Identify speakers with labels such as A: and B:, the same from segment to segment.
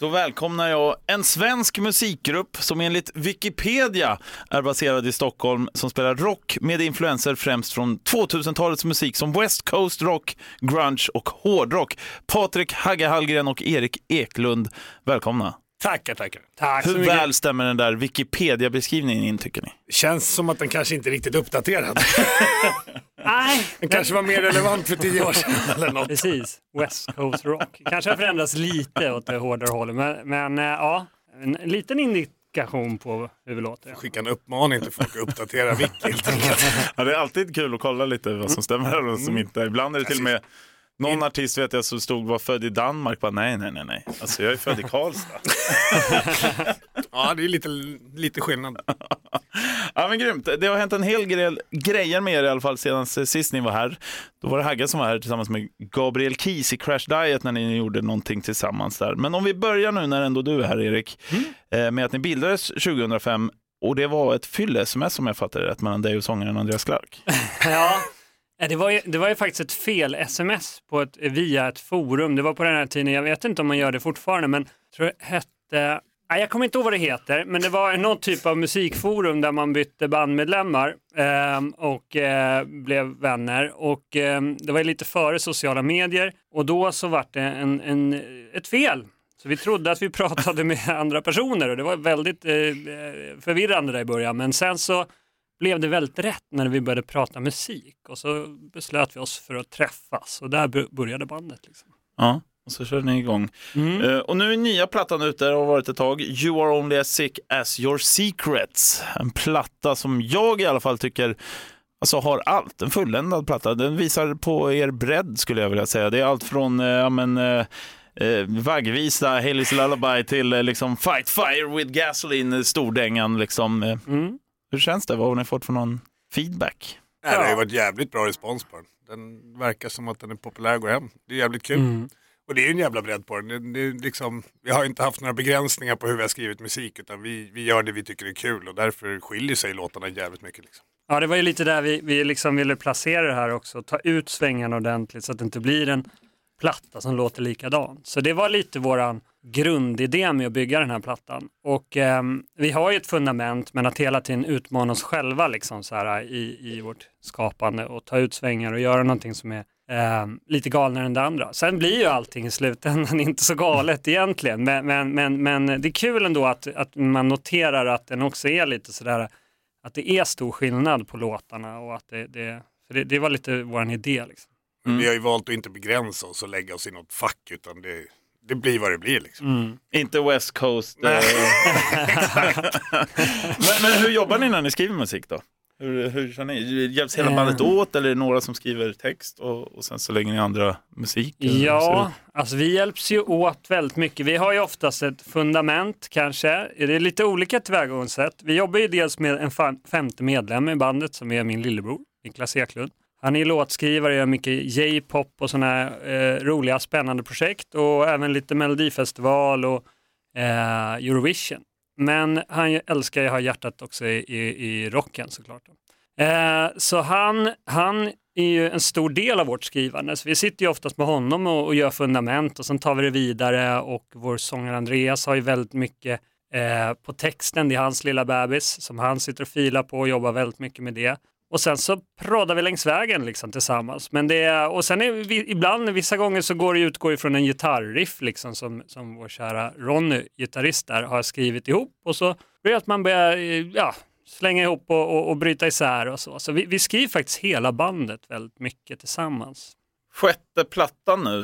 A: Då välkomnar jag en svensk musikgrupp som enligt Wikipedia är baserad i Stockholm som spelar rock med influenser främst från 2000-talets musik som West Coast Rock, grunge och hårdrock. Patrik Hagge Hallgren och Erik Eklund, välkomna.
B: Tackar, tackar. Tack
A: Hur väl stämmer den där Wikipedia-beskrivningen in tycker ni?
B: Känns som att den kanske inte är riktigt uppdaterad. Nej. Den kanske var mer relevant för tio år sedan eller något.
C: Precis, West Coast Rock. Kanske har förändrats lite åt det hårdare hållet, men, men eh, ja, en liten indikation på hur vi låter.
B: Skicka en uppmaning till folk att uppdatera Wiki helt enkelt.
A: Ja, det är alltid kul att kolla lite vad som stämmer och vad som inte. Ibland är det till och med någon artist vet jag som stod var född i Danmark. Bara, nej, nej, nej, nej. Alltså jag är född i Karlstad.
B: Ja, det är lite, lite skillnad.
A: Ja men grymt, det har hänt en hel del grejer med er i alla fall sedan sist ni var här. Då var det Hagge som var här tillsammans med Gabriel Kies i Crash Diet när ni gjorde någonting tillsammans där. Men om vi börjar nu när ändå du är här Erik, eh, med att ni bildades 2005 och det var ett fylle-sms som jag fattade rätt mellan dig och sångaren Andreas Clark.
C: Ja, eh, det var ju, det var ju faktiskt ett fel-sms på ett, via ett forum. Det var på den här tiden, jag vet inte om man gör det fortfarande, men jag tror det hette Nej, jag kommer inte ihåg vad det heter, men det var någon typ av musikforum där man bytte bandmedlemmar ehm, och eh, blev vänner. Och ehm, det var ju lite före sociala medier och då så var det en, en, ett fel. Så vi trodde att vi pratade med andra personer och det var väldigt eh, förvirrande där i början. Men sen så blev det väldigt rätt när vi började prata musik och så beslöt vi oss för att träffas och där bo- började bandet. Liksom.
A: Ja, och så körde ni igång. Eh, Och nu är nya plattan ute, och har varit ett tag. You are only as sick as your secrets. En platta som jag i alla fall tycker Alltså har allt, en fulländad platta. Den visar på er bredd skulle jag vilja säga. Det är allt från eh, ja, men, eh, eh, vaggvisa, Haley's Lullaby till eh, liksom Fight Fire with Gasoline, eh, stordängan liksom. Eh,
C: Mm.
A: Hur känns det? Vad har ni fått för någon feedback?
B: Nej, det har ju varit jävligt bra respons på den. Den verkar som att den är populär och går hem. Det är jävligt kul. Och det är ju en jävla bredd på den. Det, det är liksom, vi har ju inte haft några begränsningar på hur vi har skrivit musik utan vi, vi gör det vi tycker är kul och därför skiljer sig låtarna jävligt mycket. Liksom.
C: Ja, det var ju lite där vi, vi liksom ville placera det här också. Ta ut svängarna ordentligt så att det inte blir en platta som låter likadant. Så det var lite våran grundidé med att bygga den här plattan. Och ehm, vi har ju ett fundament men att hela tiden utmana oss själva liksom så här i, i vårt skapande och ta ut svängar och göra någonting som är ehm, lite galnare än det andra. Sen blir ju allting i slutändan inte så galet egentligen men, men, men, men det är kul ändå att, att man noterar att den också är lite sådär att det är stor skillnad på låtarna och att det, det, för det, det var lite vår idé. Liksom.
B: Vi har ju valt att inte begränsa oss och lägga oss i något fack utan det, det blir vad det blir. Liksom.
A: Inte West Coast. Eh. men, men hur jobbar ni när ni skriver musik då? Hur, hur kör ni? Hjälps hela
C: Eh.
A: bandet åt eller är det några som skriver text och, och sen så lägger ni andra musik? eller hur ser det
C: Ja,
A: ut?
C: alltså vi hjälps ju åt väldigt mycket. Vi har ju oftast ett fundament kanske. Det är lite olika tillvägagångssätt. Vi jobbar ju dels med en fa- femte medlem i bandet som är min lillebror, Niklas Eklund. Han är låtskrivare, gör mycket J-pop och sådana eh, roliga spännande projekt och även lite Melodifestival och eh, Eurovision. Men han ju- älskar ju att ha hjärtat också i, i, i rocken såklart. Eh, så han, han är ju en stor del av vårt skrivande. Så vi sitter ju oftast med honom och, och gör fundament och sen tar vi det vidare och vår sångare Andreas har ju väldigt mycket eh, på texten. Det är hans lilla bebis som han sitter och filar på och jobbar väldigt mycket med det. Och sen så proddar vi längs vägen liksom tillsammans. Men det är, och sen är vi, ibland, vissa gånger så går det utgår ifrån en gitarriff liksom som, som vår kära Ronny, gitarrist där, har skrivit ihop. Och så blir det att man börjar eh, ja, slänga ihop och, och, och bryta isär och så. Så vi, vi skriver faktiskt hela bandet väldigt mycket tillsammans.
A: Sjätte plattan nu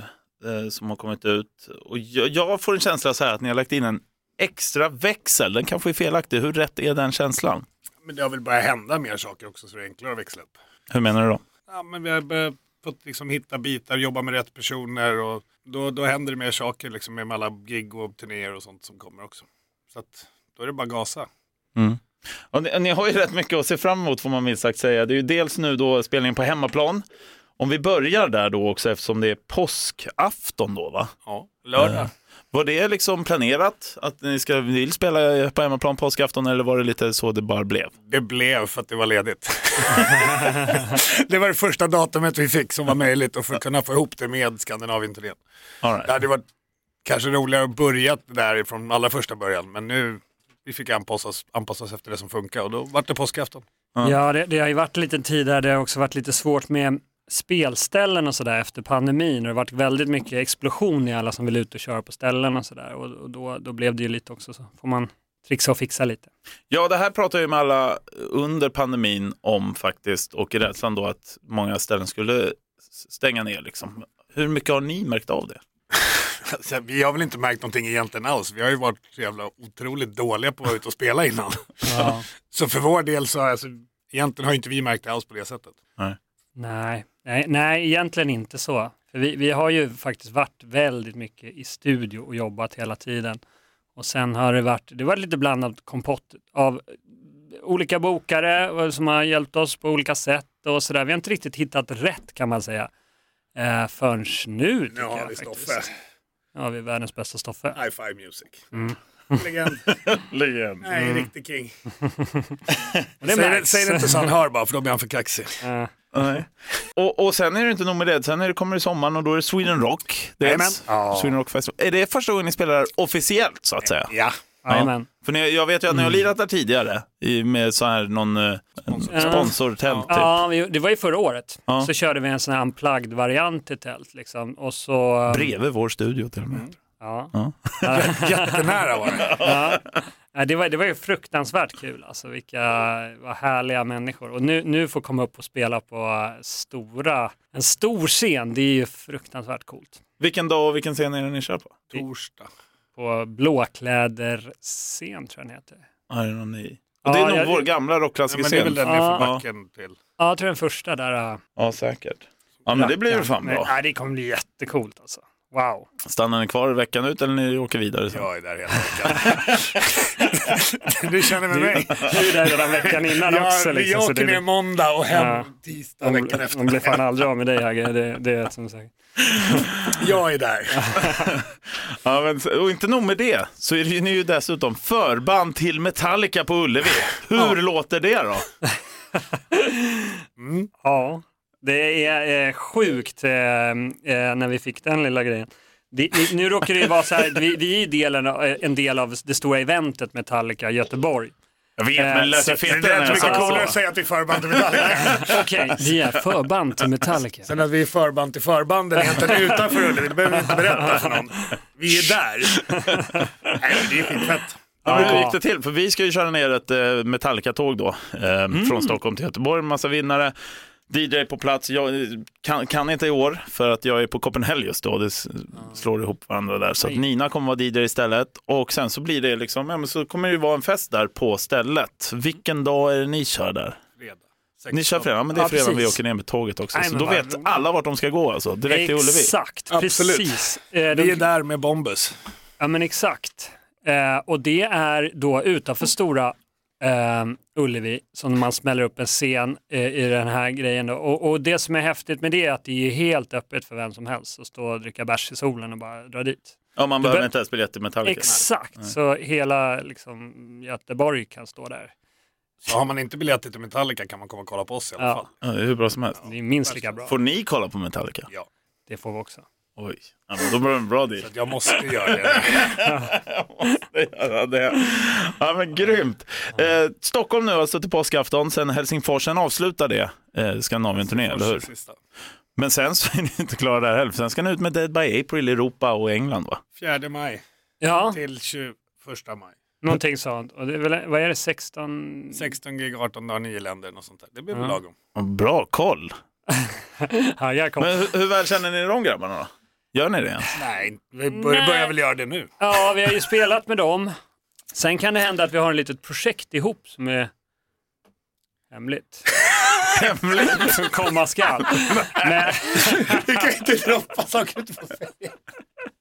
A: eh, som har kommit ut och jag, jag får en känsla så här att ni har lagt in en extra växel. Den kanske är felaktig. Hur rätt är den känslan?
B: Men det har väl börjat hända mer saker också så det är enklare att växla upp.
A: Hur menar du då?
B: Ja, men vi har börjat fått liksom hitta bitar, jobba med rätt personer och då, då händer det mer saker liksom med alla gig och turnéer och sånt som kommer också. Så att då är det bara gasa.
A: Ja, ni, ni har ju rätt mycket att se fram emot får man minst sagt säga. Det är ju dels nu då spelningen på hemmaplan Om vi börjar där då också eftersom det är påskafton då va?
B: Ja, lördag.
A: Var det liksom planerat att ni ska vill spela på hemmaplan påskafton eller var det lite så det bara blev?
B: Det blev för att det var ledigt. det var det första datumet vi fick som var möjligt och för att kunna få ihop det med Skandinavien-turnén.
A: All right.
B: Det hade varit kanske roligare att börja där från allra första början, men nu vi fick anpassa oss, anpassa oss efter det som funkar och då var det påskafton.
C: Ja, det, det har ju varit en liten tid där det har också varit lite svårt med spelställen och sådär efter pandemin och det har varit väldigt mycket explosion i alla som vill ut och köra på ställen och sådär och, och då, då blev det ju lite också så får man trixa och fixa lite.
A: Ja, det här pratar jag ju med alla under pandemin om faktiskt och rädslan då att många ställen skulle stänga ner liksom. Hur mycket har ni märkt av det?
B: Så vi har väl inte märkt någonting egentligen alls. Vi har ju varit så jävla otroligt dåliga på att vara ute och spela innan.
C: Ja.
B: Så för vår del så alltså, egentligen har inte vi märkt det alls på det sättet.
C: Nej, nej, nej, egentligen inte så. För vi, vi har ju faktiskt varit väldigt mycket i studio och jobbat hela tiden. Och sen har det varit, det var lite blandat kompott av olika bokare och- som har hjälpt oss på olika sätt och sådär. Vi har inte riktigt hittat rätt kan man säga. Eh, förrän nu tycker jag faktiskt. Nu har vi världens bästa Stoffe.
B: High Five Music. Legend.
A: Legend.
B: Nej, riktig king.
C: det
B: säg, det,
C: märks.
B: säg det inte så han hör bara, för då blir han för kaxig.
C: Eh,
A: Nej. Och, och sen är det inte nog med det, sen är det, kommer det sommaren och då är det Sweden Rock. Dels.
B: Jajamän.
A: Sweden Rock Festival. Är det första gången ni spelar officiellt så att säga?
B: Ja,
C: Jajamän.
A: För ni, jag vet ju att ni har
B: Mm.
A: lirat där tidigare i, med så här någon eh, en sponsortält typ.
C: Ja, vi, det var ju förra året.
A: Ja.
C: Så körde vi en sån här unplugged variant i tält liksom. Och så...
A: Bredvid vår studio till och
B: Mm.
A: med.
C: Ja.
A: Ja.
B: jättenära var det.
C: Ja, det, var, det var ju fruktansvärt kul alltså, vilka vad härliga människor. Och nu, nu få komma upp och spela på eh, stora, en stor scen, det är ju fruktansvärt coolt.
A: Vilken dag och vilken scen är det ni kör på?
B: Torsdag.
C: På blåkläder-scen tror jag den heter.
A: Ja, det är någon ny. Och det
C: Ja,
A: är nog
C: jag-
A: vår gamla
B: Ja,
A: rockklassiska
B: men det är väl
A: scen.
B: den
C: Ja.
B: nerför backen till.
C: Ja, jag tror den första där. eh,
A: Ja, säkert. Ja, men det blir ju
C: rackaren.
A: fan bra.
C: Nej, nej, det kommer bli jättecoolt alltså. Wow.
A: Stannar ni kvar veckan ut eller ni åker vidare? Sen?
B: Jag är där hela veckan. du känner med mig.
C: Du är där redan veckan innan också.
B: Jag,
C: Liksom,
B: jag
C: så
B: åker
C: det,
B: ner måndag och hem
C: Ja.
B: tisdag
C: de,
B: veckan efter.
C: de blir fan aldrig av med dig Hagge, det, det är som sagt.
B: Jag är där.
A: Ja, men, och inte nog med det, så är det ju, ni är ju dessutom förband till Metallica på Ullevi. Hur låter det då?
C: Ja, det är eh, sjukt eh, eh, när vi fick den lilla grejen. Det, det- nu råkar det ju vara så här, vi, vi är ju delen, av- en del av det stora eventet Metallica i Göteborg.
A: Jag vet,
C: men det lät ju fetare
B: Eh, Det är inte mycket
C: sa
B: coolare att säga att vi är förband till Metallica.
C: Okej, vi är förband till Metallica.
B: Sen att vi är förband till förbanden är egentligen utanför Ullevi, det behöver vi inte berätta för någon. Vi är där. Nej, det är skitfett.
A: Ja, men hur gick det till? För vi ska ju köra ner ett eh, Metallica-tåg då, eh,
C: Mm.
A: från Stockholm till Göteborg, massa vinnare. DJ på plats, jag eh, kan, kan inte i år för att jag är på Copenhagen just då, det s- slår ihop varandra där. Så att Nina kommer vara DJ istället och sen så blir det liksom, ja men så kommer det ju vara en fest där på stället. Vilken dag är det ni kör där? Ni kör fredag, ja, men det är
C: Ja,
A: fredag vi
C: precis.
A: åker ner med tåget också.
C: Nej,
A: så
C: men
A: då
C: vad
A: vet
C: roligt.
A: alla vart de ska gå alltså, direkt till Ullevi.
C: Exakt,
B: Absolut.
C: precis. Eh,
B: Vi
C: de-
B: är där med Bombus.
C: Ja men exakt. Eh, och det är då utanför Stora eh, Ullevi som man smäller upp en scen eh, i den här grejen. Då. Och, och det som är häftigt med det är att det är helt öppet för vem som helst att stå och dricka bärs i solen och bara dra dit.
A: Ja, man behöver
C: bör-
A: inte ens biljett till Metallica.
C: Exakt, så hela liksom, Göteborg kan stå där.
B: Så har man inte biljetter till Metallica kan man komma och kolla på oss i alla
C: Ja.
B: fall.
A: Ja, det är hur bra som helst.
C: Det är minst lika bra.
A: Får ni kolla på Metallica?
B: Ja.
C: Det får vi också.
A: Oj, ja, men då blir det en bra deal.
B: Så att jag måste göra det.
A: Ja, det. Ja, men grymt. Eh, Stockholm nu alltså till påskafton, sen Helsingfors, sen avslutar det eh, Skandinavien-turnén, eller hur?
B: Sista.
A: Men sen så är ni inte klara där heller, för sen ska ni ut med Dead by April i Europa och England va?
B: 4 maj
C: Ja,
B: till 21 maj.
C: någonting sånt. Och det är väl, vad är det, 16?
B: 16 gig, 18 dagar, 9 länder och sånt där. Det blir väl lagom.
A: Ja, Bra koll.
C: Ja, jag kom.
A: Men hur, hur väl känner ni de grabbarna då? Gör ni det ens?
B: Nej, vi börjar, börjar väl göra det nu.
C: Ja, vi har ju spelat med dem. Sen kan det hända att vi har ett litet projekt ihop som är hemligt. Hemligt? Som komma skall. Men,
B: Vi kan inte droppa saker du får säga.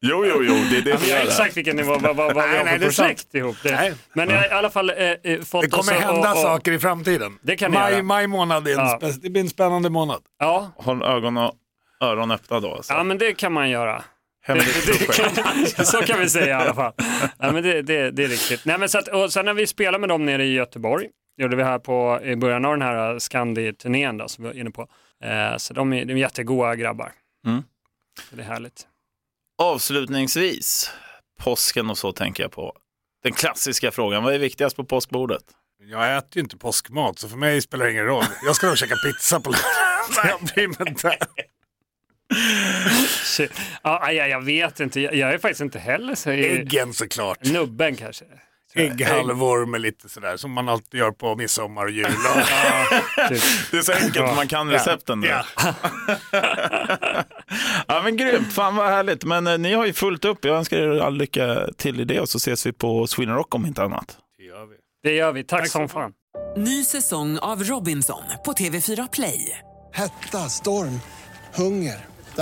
A: Jo, jo, jo, det är det vi
C: Jag vet
A: gör.
C: exakt vilken nivå, vad, vad, vad vi
B: Nej,
C: har
B: nej,
C: för
B: det är sant.
C: projekt ihop. Det.
B: Nej.
C: Men jag har i alla fall eh, eh, fått
B: Det kommer
C: oss att-
B: hända
C: och- och-
B: saker i framtiden.
C: Det kan det göra.
B: maj, maj månad är en,
C: Ja.
B: spec- det blir en spännande månad.
C: Ja,
A: Håll ögon och öron öppna då. Alltså.
C: ja, men det kan man göra.
A: Hemligt projekt.
C: så kan vi säga i alla fall. Ja, men det, det, det är riktigt. Nej, men så att, och sen när vi spelade med dem nere i Göteborg, gjorde vi här på, i början av den här Scandi-turnén då, som vi var inne på. Eh, så de är, de är jättegoa grabbar.
A: Mm.
C: Så det är härligt.
A: Avslutningsvis, påsken och så tänker jag på. Den klassiska frågan, vad är viktigast på påskbordet?
B: Jag äter ju inte påskmat så för mig spelar det ingen roll. Jag ska nog käka pizza på lördag. Så jag bryr mig inte.
C: Shit. Ja, aj, aj, jag vet inte, jag, jag är faktiskt inte heller så...
B: Äggen såklart.
C: Nubben kanske.
B: Ägghalvor med lite sådär som man alltid gör på midsommar och jul.
C: Typ.
A: Det är så enkelt, man kan recepten. nu.
B: Ja.
A: Ja men grymt, fan vad härligt. Men eh, ni har ju fullt upp, jag önskar er all lycka till i det och så ses vi på Sweden Rock om inte annat.
C: Det gör vi, tack, som fan.
D: Ny säsong av Robinson på TV4 Play.
E: Hetta, storm, hunger. Det